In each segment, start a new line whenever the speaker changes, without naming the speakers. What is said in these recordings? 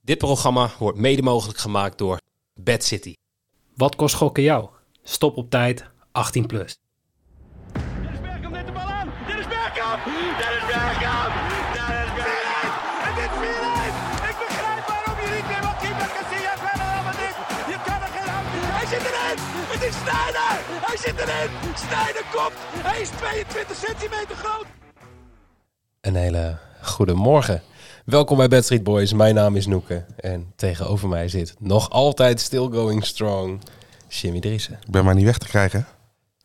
Dit programma wordt mede mogelijk gemaakt door Bad City.
Wat kost gokken jou? Stop op tijd, 18 plus.
Dennis Bergkamp neemt de bal aan. Dennis Bergkamp! Dennis Bergkamp! Dennis Bergkamp! Het is 4-1! Ik begrijp waarom je niet meer wat keeper Casillas verder allemaal dit. Je kan er geen hand in. Hij zit erin! Het is Sneijder! Hij zit erin! Sneijder komt! Hij is 22 centimeter groot!
Een hele goede morgen. Welkom bij Bad Street Boys. Mijn naam is Noeke en tegenover mij zit nog altijd still going strong Jimmy Driessen.
Ik ben maar niet weg te krijgen.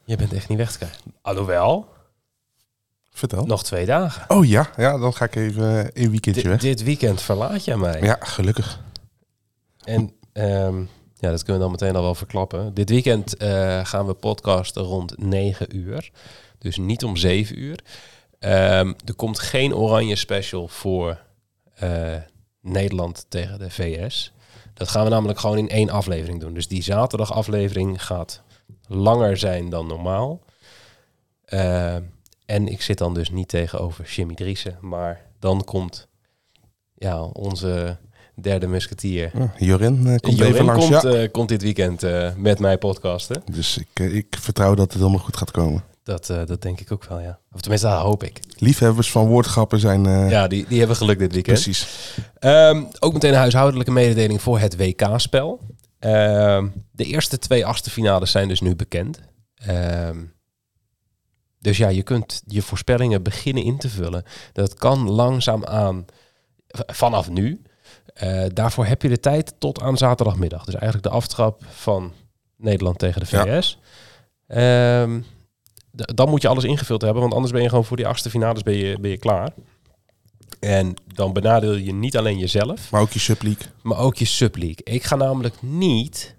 Je bent echt niet weg te krijgen. Alhoewel,
Vertel.
nog twee dagen.
Oh ja, ja, dan ga ik even eh, een weekendje
Nou. Di-
weg.
dit weekend verlaat jij mij.
Ja, gelukkig.
En ehm, ja, dat kunnen we dan meteen al wel verklappen. Dit weekend eh, gaan we podcasten rond 9 uur. Dus niet om 7 uur. Ehm, er komt geen oranje special voor eh, Nederland tegen de VS. Dat gaan we namelijk gewoon in één aflevering doen. Dus die zaterdag aflevering gaat langer zijn dan normaal. Ehm, en ik zit dan dus niet tegenover Jimmy Driessen. Maar dan komt ja, onze derde musketier
Ja, Jorin eh, komt
Jorin
even langs.
komt,
ja.
eh, komt dit weekend eh, met mij podcasten.
Dus ik, eh, ik vertrouw dat het helemaal goed gaat komen.
Dat, eh, dat denk ik ook wel, ja. Of tenminste, dat hoop ik.
Liefhebbers van woordgrappen zijn... eh,
Ja, die, die hebben geluk dit weekend.
Precies.
Ehm, ook meteen een huishoudelijke mededeling voor het WK-spel. Ehm, de eerste twee achtste finales zijn dus nu bekend. Ehm, dus ja, je kunt je voorspellingen beginnen in te vullen. Dat kan langzaamaan v- vanaf nu. Eh, daarvoor heb je de tijd tot aan zaterdagmiddag. Dus eigenlijk de aftrap van Nederland tegen de
Ja.
VS. Ehm, d- dan moet je alles ingevuld hebben, want anders ben je gewoon voor die achtste finales ben je, ben je klaar. En dan benadeel je niet alleen jezelf,
Maar ook je subleague.
maar ook je subleague. Ik ga namelijk niet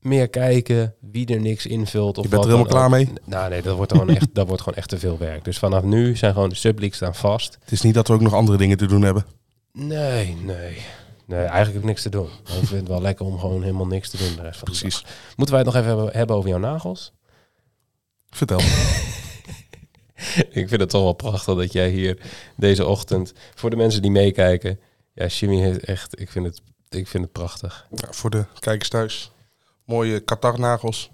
meer kijken wie er niks invult. Of
Je bent
wat
er helemaal
dan
klaar
ook.
mee?
Nou nee, dat wordt, gewoon echt, dat wordt gewoon echt te veel werk. Dus vanaf nu zijn gewoon de subleagues staan vast.
Het is niet dat we ook nog andere dingen te doen hebben.
Nee, nee. Nee, eigenlijk ook niks te doen. Maar Ik vind het wel lekker om gewoon helemaal niks te doen de rest van de
Precies.
dag. Moeten wij het nog even hebben- hebben over jouw nagels?
Vertel.
Ik vind het toch wel prachtig dat jij hier deze ochtend voor de mensen die meekijken. Ja, Jimmy heeft echt. Ik vind het, ik vind het prachtig.
Ja, voor de kijkers thuis. Mooie Qatar-nagels.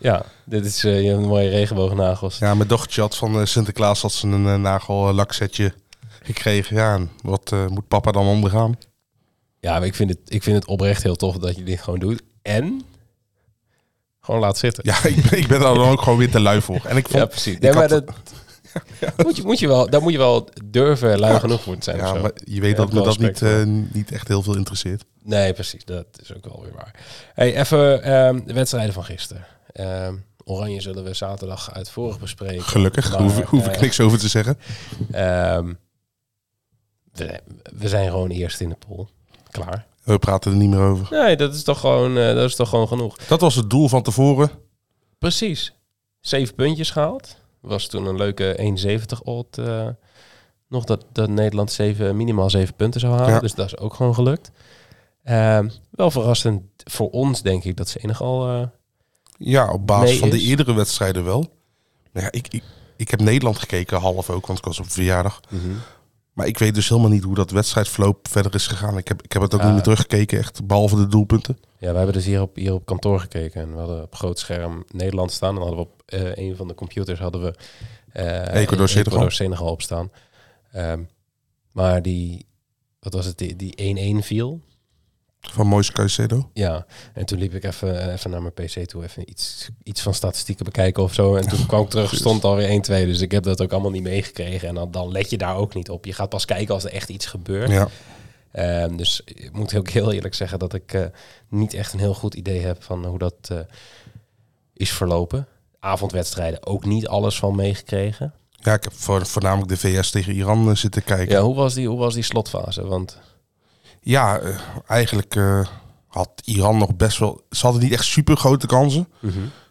Ja, dit is eh, je hebt een mooie regenboognagels.
Ja, mijn dochtertje had van eh, Sinterklaas had ze een eh, nagellaksetje gekregen. Ja, en wat eh, moet papa dan ondergaan?
Ja, maar ik vind, het, ik vind het oprecht heel tof dat je dit gewoon doet. En gewoon laat zitten.
Ja, ik ben, ik ben daar dan ook gewoon weer te lui voor. En ik vond,
Ja, precies.
ik
Nee, maar
had-
dat, moet je, moet je wel, daar moet je wel durven lui
Ja.
genoeg voor te zijn. of
Ja,
zo.
maar je weet
Ja,
dat me dat
respect
niet,
voor.
eh, niet echt heel veel interesseert.
Nee, precies. Dat is ook wel weer waar. Hey, even ehm, de wedstrijden van gisteren. Ehm, Oranje zullen we zaterdag uitvoerig bespreken.
Gelukkig,
Maar,
hoef, hoef ik
eh,
niks over te zeggen.
Ehm, we, we zijn gewoon eerst in de pool. Klaar.
We praten er niet meer over.
Nee, dat is toch gewoon, eh, dat is toch gewoon genoeg.
Dat was het doel van tevoren.
Precies. Zeven puntjes gehaald. Was toen een leuke 1,70 odd. eh, nog dat, dat Nederland zeven, minimaal zeven punten zou halen.
Ja.
Dus dat is ook gewoon gelukt. Ehm, wel verrassend voor ons, denk ik, dat Senegal... eh
Ja, op basis
Nee,
van de
is-
eerdere wedstrijden wel. Maar Ja, ik, ik, ik heb Nederland gekeken, half ook, want ik was op verjaardag. Maar ik weet dus helemaal niet hoe dat wedstrijdverloop verder is gegaan. Ik heb, ik heb het ook
Ja.
niet meer teruggekeken, echt, behalve de doelpunten.
Ja, we hebben dus hier op, hier op kantoor gekeken. En we hadden op groot scherm Nederland staan. En dan hadden we op eh, een van de computers hadden we eh,
Ecuador, Senegal.
Senegal op staan. Ehm, maar die, wat was het, die die 1-1 viel.
Van Moise Caicedo.
Ja, en toen liep ik even, eh, even naar mijn pc toe, even iets, iets van statistieken bekijken of zo. En toen kwam ik terug, stond alweer 1-2. Dus ik heb dat ook allemaal niet meegekregen. En dan, dan let je daar ook niet op. Je gaat pas kijken als er echt iets gebeurt.
Ja,
Ehm, dus ik moet ook heel eerlijk zeggen dat ik eh, niet echt een heel goed idee heb van hoe dat eh, is verlopen. Avondwedstrijden ook niet alles van meegekregen.
ja ik heb voor, voornamelijk de VS tegen Iran eh, zitten kijken.
Ja, hoe was die, hoe was die slotfase? Want
Ja, eh, eigenlijk eh, had Iran nog best wel. Ze hadden niet echt super grote kansen.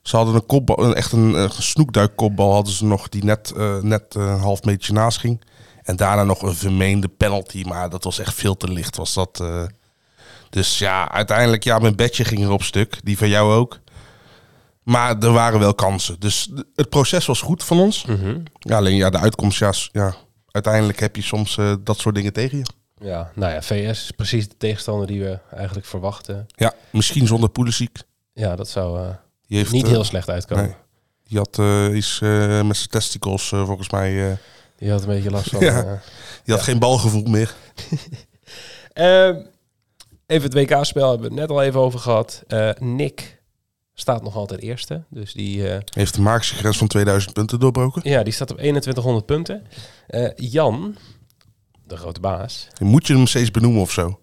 Ze hadden een kopbal, een, echt een eh, snoekduikkopbal hadden ze nog die net, eh, net eh, een half metertje naast ging. En daarna nog een vermeende penalty, maar dat was echt veel te licht was dat. eh. Dus ja, uiteindelijk ja, mijn bedje ging er op stuk, die van jou ook. Maar er waren wel kansen. Dus d- het proces was goed van
Mhm.
ons. Ja, alleen ja, de uitkomst, ja, s- ja, uiteindelijk heb je soms eh, dat soort dingen tegen je.
Ja, nou ja, VS is precies de tegenstander die we eigenlijk verwachten.
Ja, misschien zonder Pulisic.
Ja, dat zou eh,
Die heeft,
niet
eh,
heel slecht uitkomen.
nee. Die had, eh, is eh, met zijn testicles eh, volgens mij... eh,
Die had een beetje last van.
Ja.
eh,
die had geen balgevoel meer.
Ehm, even het WK-spel hebben we het net al even over gehad. Eh, Nick staat nog altijd eerste. Dus die, eh,
Heeft de magische grens van 2000 punten doorbroken.
ja, die staat op 2100 punten. Eh, Jan, de grote baas.
Moet je hem steeds benoemen of zo?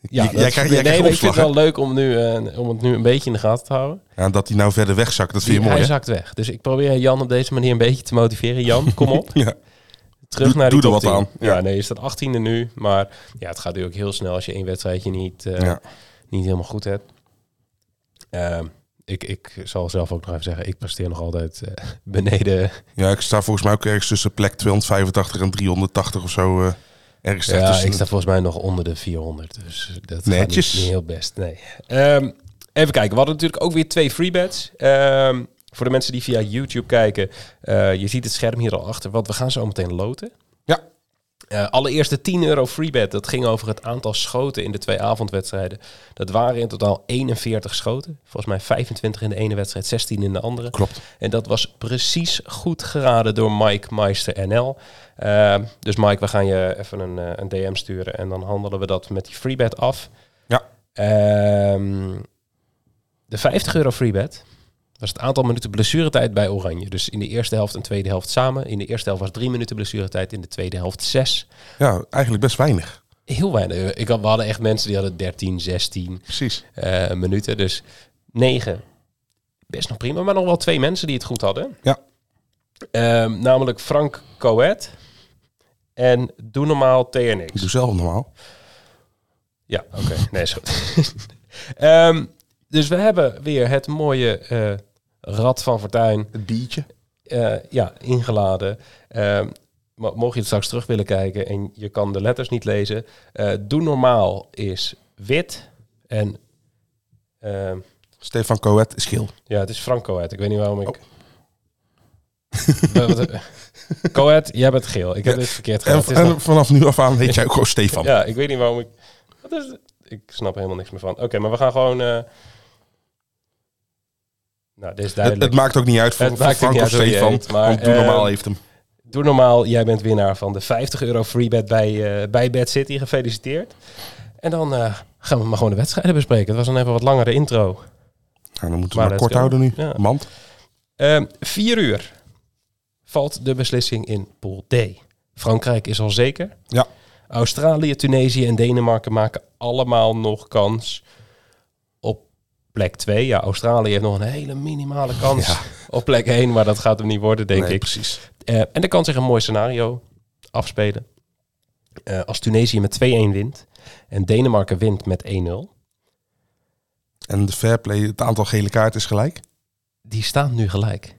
Ja,
J-
dat
jij
is-
krijgt- jij
nee,
krijgt
maar ik vind
opslag,
het wel leuk om, nu, eh, om het nu een beetje in de gaten te houden.
Ja, dat hij nou verder wegzakt, dat vind je
Die-
mooi,
hij
hè?
zakt weg. Dus ik probeer Jan op deze manier een beetje te motiveren. Jan, kom op.
Ja.
Terug
Doe-
naar die
doe er
top
wat
10.
aan. Ja.
Ja, nee, je staat 18e nu. Maar ja, het gaat nu ook heel snel als je één wedstrijdje niet, eh,
Ja.
niet helemaal goed hebt. Ehm, ik, ik zal zelf ook nog even zeggen, ik presteer nog altijd eh, beneden.
ja, ik sta volgens mij ook ergens tussen plek 285 en 380 of zo. eh, ergens daar
Ja,
tussen.
ik sta volgens mij nog onder de 400. Dus dat
Netjes.
gaat niet, niet heel best. Nee. Ehm, even kijken, we hadden natuurlijk ook weer twee free bets. Ehm, voor de mensen die via YouTube kijken, eh, je ziet het scherm hier al achter. Want we gaan zo meteen loten.
Ja,
Eh, allereerst de 10 euro freebet. Dat ging over het aantal schoten in de twee avondwedstrijden. Dat waren in totaal 41 schoten. Volgens mij 25 in de ene wedstrijd, 16 in de andere.
klopt.
En dat was precies goed geraden door Mike Meister NL. Ehm, dus Mike, we gaan je even een, eh, een DM sturen. En dan handelen we dat met die freebet af.
Ja.
Ehm, de 50 euro freebet was het aantal minuten blessuretijd bij Oranje. Dus in de eerste helft en tweede helft samen. In de eerste helft was drie minuten blessuretijd. In de tweede helft zes.
Ja, eigenlijk best weinig.
Heel weinig. Ik had, we hadden echt mensen die hadden 13, 16
Precies.
eh, minuten. Dus 9. Best nog prima, maar nog wel twee mensen die het goed hadden.
Ja.
Ehm, namelijk Frank Coët en Doe Normaal TNX.
Ik doe zelf normaal.
Ja, oké. Nee, is goed. Ehm, dus we hebben weer het mooie eh, Rad van Fortuin
Het biertje.
eh, ja, ingeladen. Ehm, maar mocht je het straks terug willen kijken en je kan de letters niet lezen. eh, doe normaal is wit. En ehm,
Stefan Coët is geel.
ja, het is Frank Coët. Ik weet niet
Oh.
waarom ik... Wat- wat- eh, Coët, jij bent geel. Ik heb dit verkeerd
En,
gehad. Het is nog-
en vanaf nu af aan heet jij ook gewoon Stefan.
ja, ik weet niet waarom ik... Wat is het? Ik snap er helemaal niks meer van. Oké, maar we gaan gewoon... eh, Nou, dit is
het,
duidelijk.
het maakt ook niet uit voor,
Het
voor
maakt ook
Frank
niet
of
uit hoe je
Stefan.
heet, maar,
want doe
eh,
normaal heeft hem.
Doe normaal, jij bent winnaar van de 50 euro freebet bij, eh, bij Bad City. Gefeliciteerd. En dan eh, gaan we maar gewoon de wedstrijden bespreken. Het was dan even een wat langere intro.
Nou, dan moeten we
maar
maar
dat
kort
kan.
houden nu.
Ja.
Mand.
Ehm, vier uur valt de beslissing in Pool D. Frankrijk is al zeker.
Ja.
Australië, Tunesië en Denemarken maken allemaal nog kans op plek 2. Ja, Australië heeft nog een hele minimale kans
Ja.
op plek 1, maar dat gaat hem niet worden, denk
Nee,
ik.
precies.
Eh, en er kan zich een mooi scenario afspelen. Eh, als Tunesië met 2-1 wint en Denemarken wint met 1-0.
En de fairplay, het aantal gele kaarten is gelijk.
Die staan nu gelijk.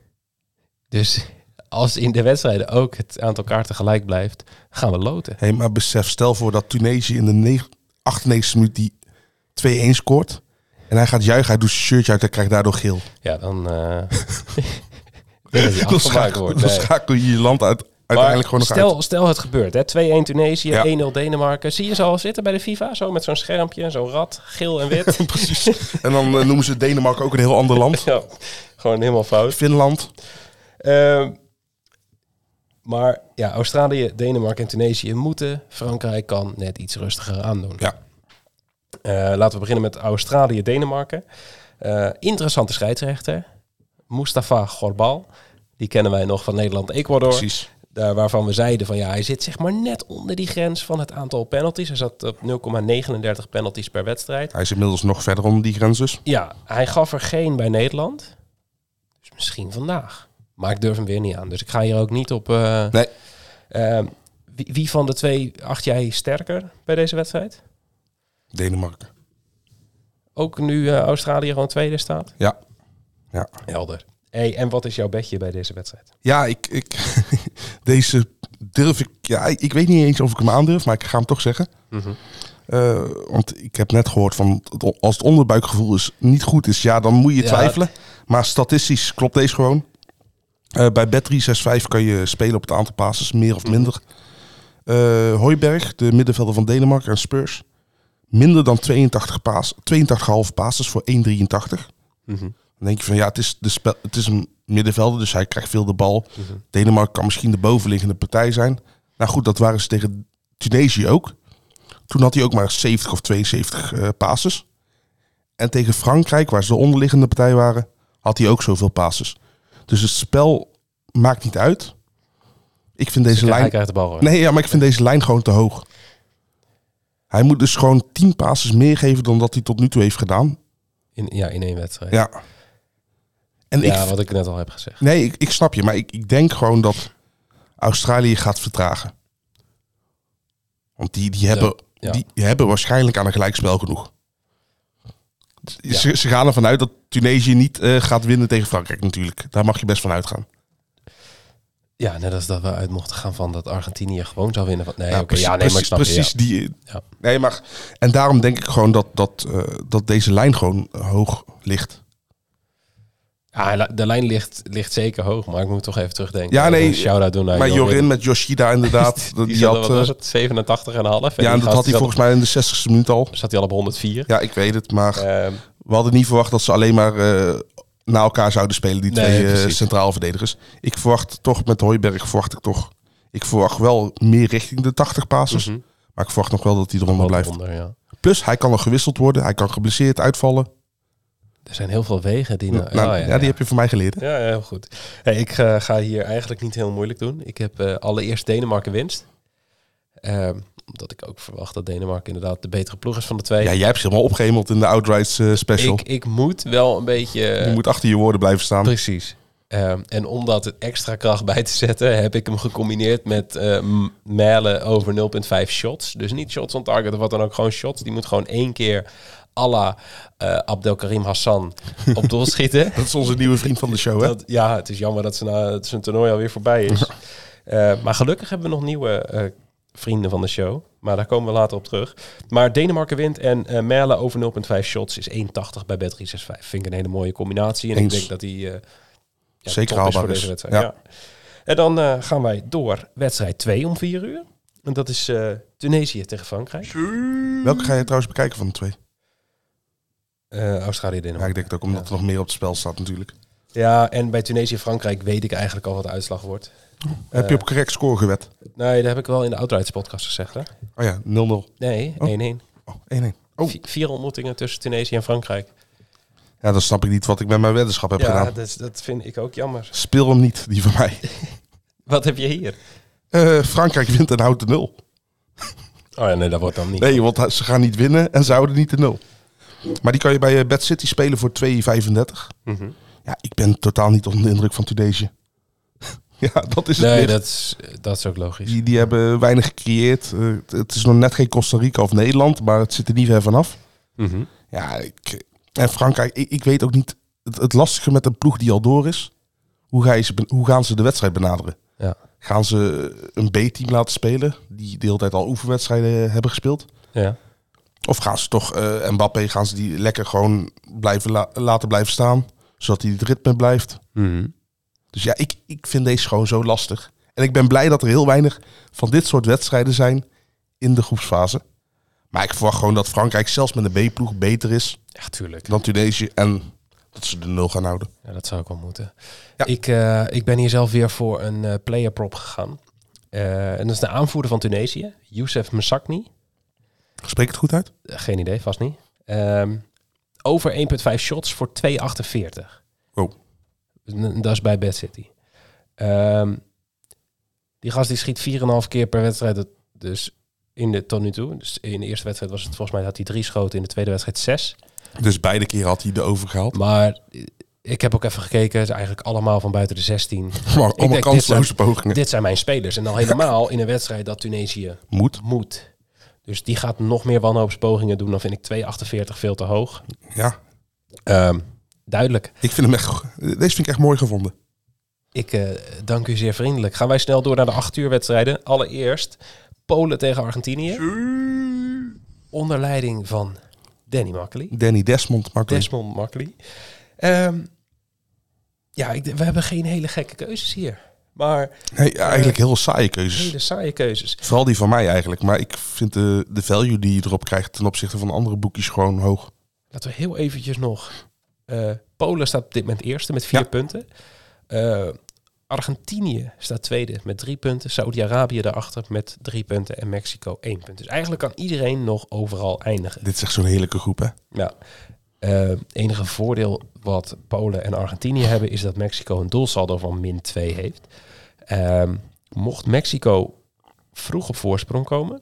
Dus als in de wedstrijden ook het aantal kaarten gelijk blijft, gaan we loten.
Hé, maar besef, stel voor dat Tunesië in de neg- 98e minuut die 2-1 scoort. En hij gaat juichen, hij doet zijn shirtje uit en krijgt daardoor geel.
Ja, dan... eh dat die
Dan
afgemaakt
schakel,
wordt.
dan
Nee.
schakel je je land uit, uiteindelijk gewoon nog
stel,
uit.
stel het gebeurt, hè. 2-1 Tunesië,
Ja.
1-0 Denemarken. Zie je ze al zitten bij de FIFA, zo met zo'n schermpje en zo'n rad, geel en wit.
En dan eh, noemen ze Denemarken ook een heel ander land.
ja, gewoon helemaal fout.
Finland.
Ehm, maar ja, Australië, Denemarken en Tunesië moeten. Frankrijk kan net iets rustiger aandoen.
Ja.
Eh, laten we beginnen met Australië, Denemarken. Eh, interessante scheidsrechter. Mustafa Gorbal. Die kennen wij nog van Nederland-Ecuador.
Precies.
Daar waarvan we zeiden van ja, hij zit zeg maar net onder die grens van het aantal penalties. Hij zat op 0,39 penalties per wedstrijd.
Hij is inmiddels nog verder onder die grens dus.
Ja, hij gaf er geen bij Nederland. Dus misschien vandaag. Maar ik durf hem weer niet aan. Dus ik ga hier ook niet op. eh,
Nee.
Ehm, wie, wie van de twee acht jij sterker bij deze wedstrijd?
Denemarken.
Ook nu eh, Australië gewoon tweede staat?
Ja. Ja.
Helder. Hey, en wat is jouw bedje bij deze wedstrijd?
Ja, ik, ik, deze durf ik. Ja, ik weet niet eens of ik hem aandurf, maar ik ga hem toch zeggen. Eh, want ik heb net gehoord van het- als het onderbuikgevoel is, niet goed is, ja, dan moet je
Ja.
twijfelen. Maar statistisch klopt deze gewoon. Eh bij bet 365 kan je spelen op het aantal passes, meer of minder. eh Hooiberg, de middenvelder van Denemarken en Spurs. Minder dan 82 paas, 82,5 passes voor 1,83. Dan denk je van ja, het is, de spe- het is een middenvelder, dus hij krijgt veel de bal. Denemarken kan misschien de bovenliggende partij zijn. Nou goed, dat waren ze tegen Tunesië ook. Toen had hij ook maar 70 of 72 eh passes. En tegen Frankrijk, waar ze de onderliggende partij waren, had hij ook zoveel passes. Dus het spel maakt niet uit. Ik vind deze
Hij
lijn.
krijgt de bal gewoon.
Nee, ja, maar ik vind deze lijn gewoon te hoog. Hij moet dus gewoon 10 passes meer geven dan dat hij tot nu toe heeft gedaan.
In, ja, in één wedstrijd. Ja,
Ja. En ik,
wat ik net al heb gezegd.
nee, ik, ik snap je, maar ik, ik denk gewoon dat Australië gaat vertragen. Want die, die, hebben,
ja.
die hebben waarschijnlijk aan een gelijkspel genoeg. Ze, ze gaan ervan uit dat Tunesië niet eh, gaat winnen tegen Frankrijk natuurlijk. Daar mag je best van uitgaan.
Ja, net als dat we uit mochten gaan van dat Argentinië gewoon zou winnen. Van, nee,
Nou,
oké, ja, nee,
precies-
maar ik snap je,
precies
ja.
die.
Ja.
Nee, maar en daarom denk ik gewoon dat, dat, eh, dat deze lijn gewoon hoog ligt.
Ja, Ah, la- de lijn ligt, ligt zeker hoog, maar ik moet toch even terugdenken.
Ja,
Even
nee,
een shout-out doen naar
maar Jorin, met Yoshida inderdaad, die,
Die, zat
had,
had, wat was
eh,
het, 87 en half.
ja, en dat had hij volgens mij in de 60ste minuut al.
Zat hij al op 104.
Ja, ik weet het, maar
Ehm,
we hadden niet verwacht dat ze alleen maar eh na elkaar zouden spelen die
Nee,
twee eh,
precies.
centraal verdedigers. Ik verwacht toch met Hooiberg verwacht ik toch. Ik verwacht wel meer richting de 80 passes,
Mhm.
maar ik verwacht nog wel dat hij eronder
wat
blijft.
onder, ja.
Plus hij kan nog gewisseld worden, hij kan geblesseerd uitvallen.
Er zijn heel veel wegen die...
Nou,
Nou, oh,
ja, die heb je van mij geleerd. hè?
Ja, ja, heel goed. Hey, ik eh, ga hier eigenlijk niet heel moeilijk doen. Ik heb eh, allereerst Denemarken winst. Ehm, omdat ik ook verwacht dat Denemarken inderdaad de betere ploeg is van de twee.
Ja, jij hebt ze helemaal opgehemeld in de Outrights eh, special.
ik, ik moet wel een beetje...
je moet achter je woorden blijven staan.
Precies. Ehm, en om dat het extra kracht bij te zetten, heb ik hem gecombineerd met eh, m- mijlen over 0,5 shots. Dus niet shots on target of wat dan ook, gewoon shots. Die moet gewoon één keer à la eh, Abdelkarim Hassan op doel schieten.
Dat is onze nieuwe vriend van de show, hè?
Dat, ja, het is jammer dat ze na het zijn toernooi alweer voorbij is. Eh, maar gelukkig hebben we nog nieuwe eh, vrienden van de show. Maar daar komen we later op terug. Maar Denemarken wint en eh Merle over 0,5 shots is 1,80 bij Bet365. Vind ik een hele mooie combinatie. En
Eens.
ik denk dat die eh, ja,
Zeker
top is
haalbaar
voor
is.
deze wedstrijd.
Ja.
Ja. En dan eh, gaan wij door wedstrijd 2 om 4 uur. En dat is eh, Tunesië tegen Frankrijk.
Welke ga je trouwens bekijken van de twee?
Eh, Australië-Denemarken.
Ja, ik denk het ook omdat er nog meer op het spel staat natuurlijk.
Ja, en bij Tunesië-Frankrijk weet ik eigenlijk al wat de uitslag wordt.
heb je op correct score gewet?
Nee, dat heb ik wel in de Outrights podcast gezegd. Hè?
Oh ja, 0-0.
Nee, 1-1.
Oh. Oh, 1-1. Oh,
Vi- Vier ontmoetingen tussen Tunesië en Frankrijk.
ja, dan snap ik niet wat ik met mijn weddenschap heb
ja,
gedaan.
dat, is- dat vind ik ook jammer.
Speel hem niet, die van mij.
Wat heb je hier?
Eh, Frankrijk wint en houdt de nul.
Oh ja, nee, dat wordt dan niet.
Nee, want hij- ze gaan niet winnen en ze houden niet de nul. Maar die kan je bij eh, Bad City spelen voor 2,35.
Mhm.
Ja, ik ben totaal niet onder de indruk van Tunesië. ja, dat is het
Nee,
licht.
dat is, eh, dat is ook logisch.
Die, die hebben weinig gecreëerd. Eh, het- het is nog net geen Costa Rica of Nederland, maar het zit er niet ver vanaf.
Mhm.
Ja, ik, en Frankrijk, ik, ik weet ook niet. Het, het lastige met een ploeg die al door is. Hoe, ga je ze, ben- hoe gaan ze de wedstrijd benaderen?
Ja.
Gaan ze een B-team laten spelen, die de hele tijd al oefenwedstrijden hebben gespeeld?
Ja.
Of gaan ze toch eh Mbappé, gaan ze die lekker gewoon blijven la- laten blijven staan, zodat hij het ritme blijft? Dus ja, ik, ik vind deze gewoon zo lastig. En ik ben blij dat er heel weinig van dit soort wedstrijden zijn in de groepsfase. Maar ik verwacht gewoon dat Frankrijk zelfs met een B-ploeg beter is
Ja, tuurlijk.
dan Tunesië. En dat ze de nul gaan houden.
Ja, dat zou ik wel moeten.
Ja.
Ik, eh, ik ben hier zelf weer voor een eh player prop gegaan. Eh, en dat is de aanvoerder van Tunesië, Youssef Messakni.
Spreek ik het goed uit?
Eh, Geen idee, vast niet. Ehm, over 1,5 shots voor 2,48.
Wow.
N- Dat is bij Bad City. Ehm, die gast die schiet 4,5 keer per wedstrijd. Dat- Dus in de, tot nu toe. Dus in de eerste wedstrijd was het volgens mij had hij drie schoten. In de tweede wedstrijd zes.
Dus beide keren had hij de overgehaald.
Maar eh, ik heb ook even gekeken. Het is eigenlijk allemaal van buiten de 16.
Maar
denk,
allemaal
dit
kansloze
zijn-
pogingen.
Dit zijn mijn spelers. En dan helemaal in een wedstrijd dat Tunesië
Moet.
moet. Dus die gaat nog meer wanhoopspogingen doen. Dan vind ik 2,48 veel te hoog.
Ja,
Ehm, duidelijk.
ik vind hem echt... Deze vind ik echt mooi gevonden.
Ik eh, dank u zeer vriendelijk. Gaan wij snel door naar de acht uur wedstrijden. Allereerst Polen tegen Argentinië. Onder leiding van Danny Makkely.
Danny Desmond, Marco.
Desmond Makkely. Ehm, ja, ik, d- we hebben geen hele gekke keuzes hier. Maar
Nee, eigenlijk heel saaie keuzes.
hele saaie keuzes.
Vooral die van mij eigenlijk. Maar ik vind de, de value die je erop krijgt ten opzichte van andere boekjes gewoon hoog.
Laten we heel eventjes nog. eh, Polen staat op dit moment eerste met vier
Ja.
punten. Eh, Argentinië staat tweede met drie punten. Saudi-Arabië daarachter met drie punten. En Mexico één punt. Dus eigenlijk kan iedereen nog overal eindigen.
Dit is echt zo'n heerlijke groep, hè?
Ja. Eh, enige voordeel wat Polen en Argentinië hebben is dat Mexico een doelsaldo van min 2 heeft. Ehm, mocht Mexico vroeg op voorsprong komen,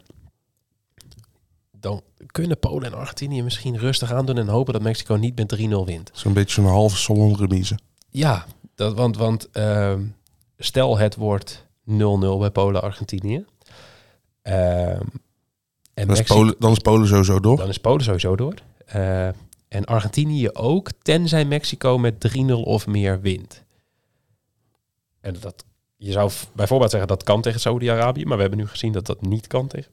dan kunnen Polen en Argentinië misschien rustig aandoen en hopen dat Mexico niet met 3-0 wint.
Zo'n beetje zo'n halve salon remise.
Ja, dat, want, want ehm, stel het wordt 0-0 bij Polen-Argentinië. Ehm, en
Dan is,
Mexi-
Polen, dan is Polen sowieso door.
dan is Polen sowieso door. Eh, en Argentinië ook, tenzij Mexico met 3-0 of meer wint. En dat, je zou v- bijvoorbeeld zeggen dat kan tegen Saudi-Arabië, maar we hebben nu gezien dat dat niet kan tegen.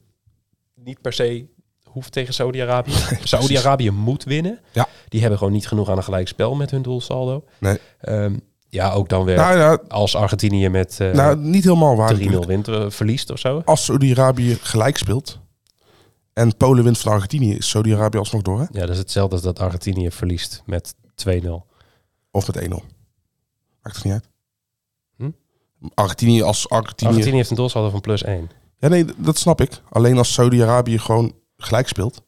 Niet per se hoeft tegen Saudi-Arabië. Saudi-Arabië moet winnen.
Ja.
Die hebben gewoon niet genoeg aan een gelijk spel met hun doelsaldo.
Nee.
Ehm, ja, ook dan weer
Nou ja,
als Argentinië met eh,
nou, niet helemaal waar.
3-0 wint, eh, verliest of zo.
Als Saudi-Arabië gelijk speelt en Polen wint van Argentinië, is Saudi-Arabië alsnog door, hè?
Ja, dat is hetzelfde als dat Argentinië verliest met 2-0.
Of met 1-0. Maakt het niet uit.
Hm?
Argentinië als Argentinië...
Argentinië heeft een doelsaldo van plus 1.
Ja, nee, d- dat snap ik. Alleen als Saudi-Arabië gewoon gelijk speelt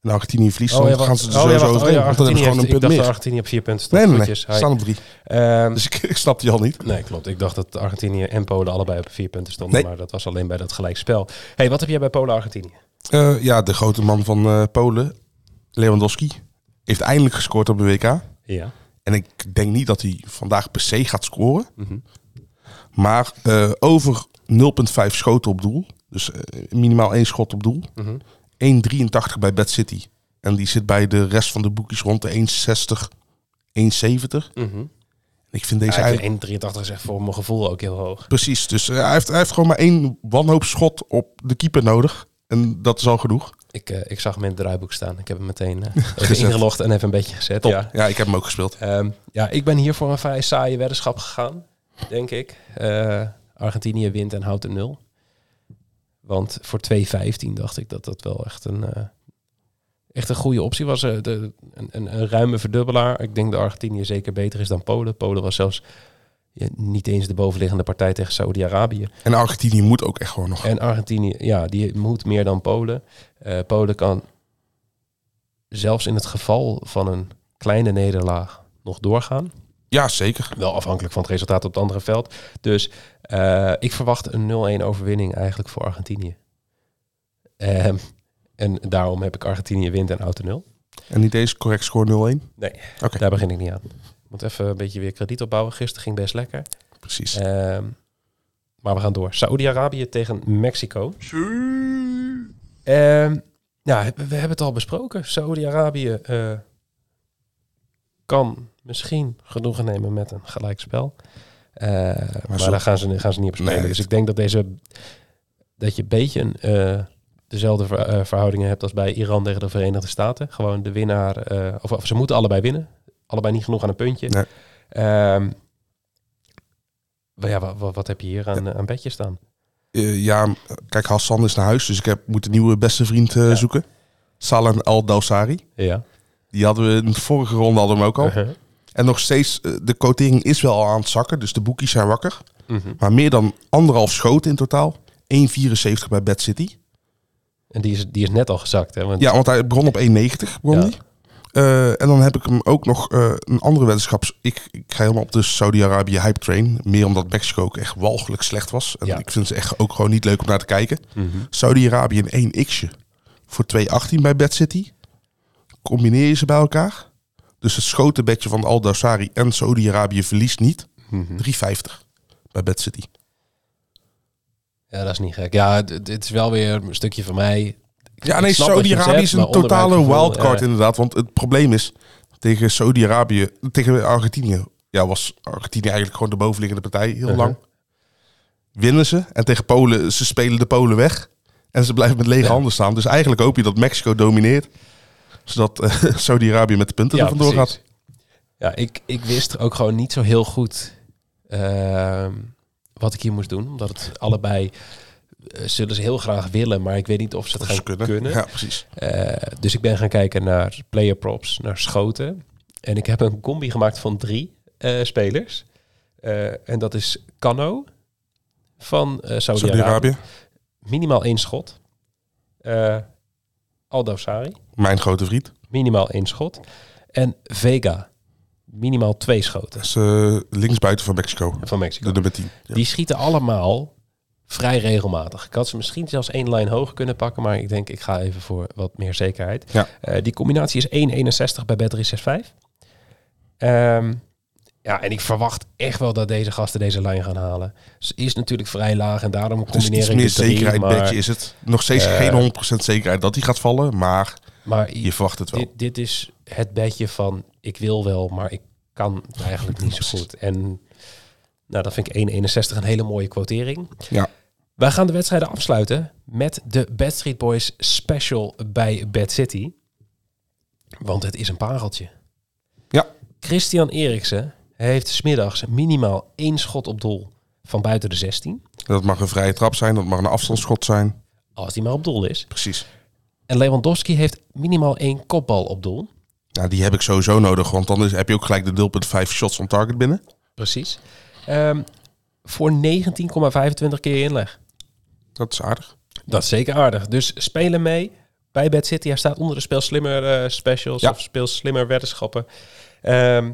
en Argentinië verliest, dan gaan ze er
oh, ja,
sowieso
wacht.
overheen.
Oh, ja,
want dan hebben ze gewoon
Argentinië
een punt
heeft- Ik dacht dat
meer.
Argentinië op vier punten stond.
Nee, nee, nee.
Goedjes.
Ze
Hi.
staan op drie.
Ehm,
Dus ik, ik snap die al niet.
nee, klopt. Ik dacht dat Argentinië en Polen allebei op vier punten stonden.
Nee.
Maar dat was alleen bij dat gelijkspel. hey, wat heb jij bij Polen-Argentinië?
Eh, ja, de grote man van eh, Polen, Lewandowski, heeft eindelijk gescoord op de WK.
Ja.
En ik denk niet dat hij vandaag per se gaat scoren.
Mhm.
Maar eh, over 0,5 schoten op doel. Dus eh, minimaal één schot op doel. 1,83 bij Bad City. En die zit bij de rest van de boekjes rond de 1,60, 1,70. En Ik vind
Mhm.
deze
Ja, ik
eigenlijk...
vind 1,83 is echt voor mijn gevoel ook heel hoog.
Precies, dus eh, hij, heeft, hij heeft gewoon maar één wanhoopschot op de keeper nodig. En dat is al genoeg.
Ik, eh, ik zag hem in het draaiboek staan. Ik heb hem meteen eh, even
Gezet.
ingelogd en even een beetje gezet.
Top.
Ja.
Ja. ik heb hem ook gespeeld.
Ehm, ja, ik ben hier voor een vrij saaie weddenschap gegaan, denk ik. Eh, Argentinië wint en houdt een nul. Want voor 2,15 dacht ik dat dat wel echt een, eh, echt een goede optie was. Eh, de, een, een, een ruime verdubbelaar. Ik denk dat Argentinië zeker beter is dan Polen. Polen was zelfs ja, niet eens de bovenliggende partij tegen Saudi-Arabië.
En Argentinië moet ook echt gewoon nog.
En Argentinië, ja, die moet meer dan Polen. Eh, Polen kan zelfs in het geval van een kleine nederlaag nog doorgaan.
Ja, zeker.
Wel afhankelijk van het resultaat op het andere veld. Dus eh, ik verwacht een 0-1 overwinning eigenlijk voor Argentinië. Ehm, en daarom heb ik Argentinië wint en auto 0.
En niet eens correct score 0-1.
Nee,
Oké.
daar begin ik niet aan. Moet even een beetje weer krediet opbouwen. Gisteren ging best lekker.
Precies.
Ehm, maar we gaan door. Saoedi-Arabië tegen Mexico. Ehm, ja, we hebben het al besproken. Saoedi-Arabië eh, kan misschien genoegen nemen met een gelijkspel. Eh, maar
zo-
daar gaan ze, gaan ze niet op spelen.
Nee.
Dus ik denk dat, deze, dat je een beetje een, eh, dezelfde ver- eh, verhoudingen hebt als bij Iran tegen de Verenigde Staten. Gewoon de winnaar, eh, of, of ze moeten allebei winnen. Allebei niet genoeg aan een puntje.
Nee.
Ehm, maar ja, wa- wa- wat, heb je hier aan, eh, aan bedje staan?
Eh, ja, kijk, Hassan is naar huis, dus ik heb, moet een nieuwe beste vriend eh,
Ja.
zoeken. Salan Al Dawsari.
Ja.
Die hadden we in de vorige ronde hadden we hem ook al.
Uh-huh.
En nog steeds, eh, de quotering is wel aan het zakken, dus de boekies zijn wakker.
Mhm.
Maar meer dan anderhalf schoten in totaal. 1,74 bij Bad City.
En die is, die is net al gezakt, hè? Want,
Ja, want hij begon op 1,90. Begon
Ja.
die. Eh, en dan heb ik hem ook nog eh, een andere weddenschap. Ik, ik ga helemaal op de Saudi-Arabië hype train. Meer omdat Mexico ook echt walgelijk slecht was. En
Ja.
ik vind ze echt ook gewoon niet leuk om naar te kijken.
Mhm.
Saudi-Arabië een 1x'je voor 2,18 bij Bad City. Combineer je ze bij elkaar. Dus het schotenbedje van Al-Dawsari en Saudi-Arabië verliest niet.
Hm.
3,50 bij Bad City.
ja, dat is niet gek. Ja, d- dit is wel weer een stukje van mij. Ik-
Ja,
ik
nee,
snap wat je
Saudi-Arabië
zegt,
is
maar
een
onder mijn
totale
gevoel,
wildcard
ja.
inderdaad. Want het probleem is, tegen Saudi-Arabië, tegen Argentinië, ja, was Argentinië eigenlijk gewoon de bovenliggende partij heel
Mhm.
lang. Winnen ze en tegen Polen, ze spelen de Polen weg. En ze blijven met lege
Ja.
handen staan. Dus eigenlijk hoop je dat Mexico domineert. Zodat eh, Saudi-Arabië met de punten
Ja,
er vandoor
precies.
gaat.
Ja, ik, ik wist ook gewoon niet zo heel goed ehm, wat ik hier moest doen. Omdat het allebei eh, zullen ze heel graag willen, maar ik weet niet of ze het
Of
gaan
ze
kunnen.
Ja, precies.
Eh, dus ik ben gaan kijken naar player props, naar schoten. En ik heb een combi gemaakt van drie eh, spelers. Eh, en dat is Cano van eh Saudi-Arabië.
Saudi-Arabië.
Minimaal één schot. Eh Aldo Sari.
Mijn grote vriend.
Minimaal één schot. En Vega. Minimaal twee schoten
Dat is eh, linksbuiten van Mexico.
van Mexico.
De nummer 10. Ja.
Die schieten allemaal vrij regelmatig. Ik had ze misschien zelfs één lijn hoog kunnen pakken, maar ik denk ik ga even voor wat meer zekerheid.
Ja.
Eh, die combinatie is 1,61 bij Bet365. Ehm, ja, en ik verwacht echt wel dat deze gasten deze lijn gaan halen. Ze is natuurlijk vrij laag en daarom
Dus
combineer
iets
ik
meer
de drie,
zekerheid
maar,
bedje is het. Nog steeds
Eh,
geen 100% zekerheid dat die gaat vallen, maar
maar
je verwacht het wel.
dit, dit is het bedje van ik wil wel, maar ik kan het eigenlijk niet zo goed. En nou, dat vind ik 1,61 een hele mooie quotering.
Ja.
Wij gaan de wedstrijden afsluiten met de Bad Street Boys special bij Bad City. Want het is een pareltje.
Ja.
Christian Eriksen heeft smiddags minimaal één schot op doel van buiten de 16.
Dat mag een vrije trap zijn, dat mag een afstandsschot zijn.
Als die maar op doel is.
Precies.
En Lewandowski heeft minimaal één kopbal op doel.
Nou, die heb ik sowieso nodig, want dan is- heb je ook gelijk de 0,5 shots on target binnen.
Precies. Ehm, voor 19,25 keer je inleg.
Dat is aardig.
Dat is zeker aardig. Dus spelen mee bij Bad City. Hij staat onder de Speel Slimmer eh, specials
Ja.
of Speel Slimmer weddenschappen. Ehm,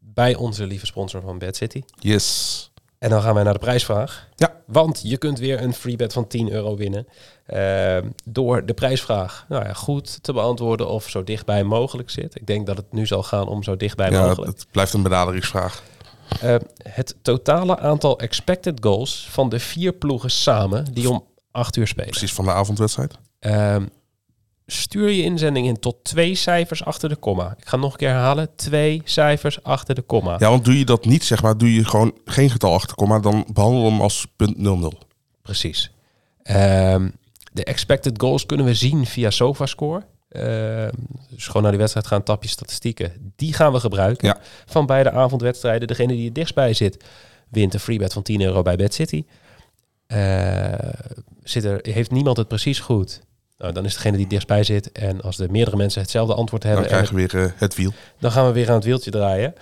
bij onze lieve sponsor van Bad City.
Yes.
En dan gaan wij naar de prijsvraag.
Ja.
Want je kunt weer een free bet van 10 euro winnen. Ehm, door de prijsvraag nou ja, goed te beantwoorden of zo dichtbij mogelijk zit. Ik denk dat het nu zal gaan om zo dichtbij
Ja,
mogelijk.
het blijft een benaderingsvraag.
Eh, het totale aantal expected goals van de vier ploegen samen die om 8 uur spelen.
Precies van de avondwedstrijd.
Ehm, stuur je inzending in tot twee cijfers achter de komma. Ik ga nog een keer herhalen. Twee cijfers achter de komma.
Ja, want doe je dat niet, zeg maar, doe je gewoon geen getal achterkomma, dan behandel hem als punt 00.
Precies. Ehm, de expected goals kunnen we zien via SofaScore. Ehm, dus gewoon naar die wedstrijd gaan, tapje statistieken. Die gaan we gebruiken.
Ja.
Van beide avondwedstrijden. Degene die het dichtstbij zit, wint een freebet van 10 euro bij Bad City. Eh, zit er, heeft niemand het precies goed? Nou, dan is degene die het dichtstbij zit. En als er meerdere mensen hetzelfde antwoord hebben...
Dan
en
krijgen we weer eh, het wiel.
dan gaan we weer aan het wieltje draaien.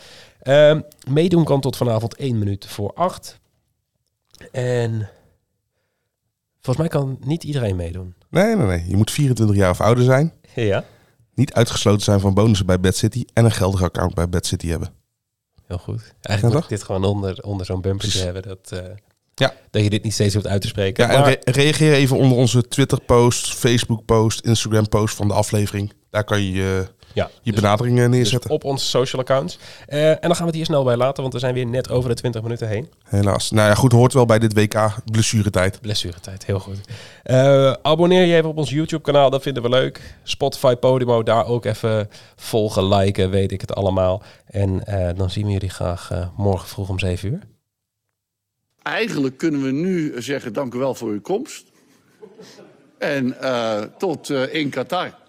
Ehm, meedoen kan tot vanavond 1 minuut voor 8. En volgens mij kan niet iedereen meedoen.
Nee, nee, nee. Je moet 24 jaar of ouder zijn,
Ja.
niet uitgesloten zijn van bonussen bij Bad City en een geldig account bij Bad City hebben.
Heel goed.
Ja,
Eigenlijk moet
toch?
ik dit gewoon onder, onder zo'n bumpertje
Precies.
hebben. Dat, eh,
Ja.
dat je dit niet steeds hoeft uit te spreken.
Ja, en
Maar
re- reageer even onder onze Twitter-post, Facebook-post, Instagram-post van de aflevering. Daar kan je eh,
ja,
je
dus-
benaderingen
dus
neerzetten.
op onze social accounts. Eh, en dan gaan we het hier snel bij laten, want we zijn weer net over de 20 minuten heen.
Helaas. Nou ja, goed, hoort wel bij dit WK blessuretijd.
Blessuretijd, heel goed. Eh, abonneer je even op ons YouTube-kanaal, dat vinden we leuk. Spotify, Podimo, daar ook even volgen, liken, weet ik het allemaal. En eh, dan zien we jullie graag eh, morgen vroeg om 7 uur.
Eigenlijk kunnen we nu zeggen: dank u wel voor uw komst. En eh, tot eh, in Qatar.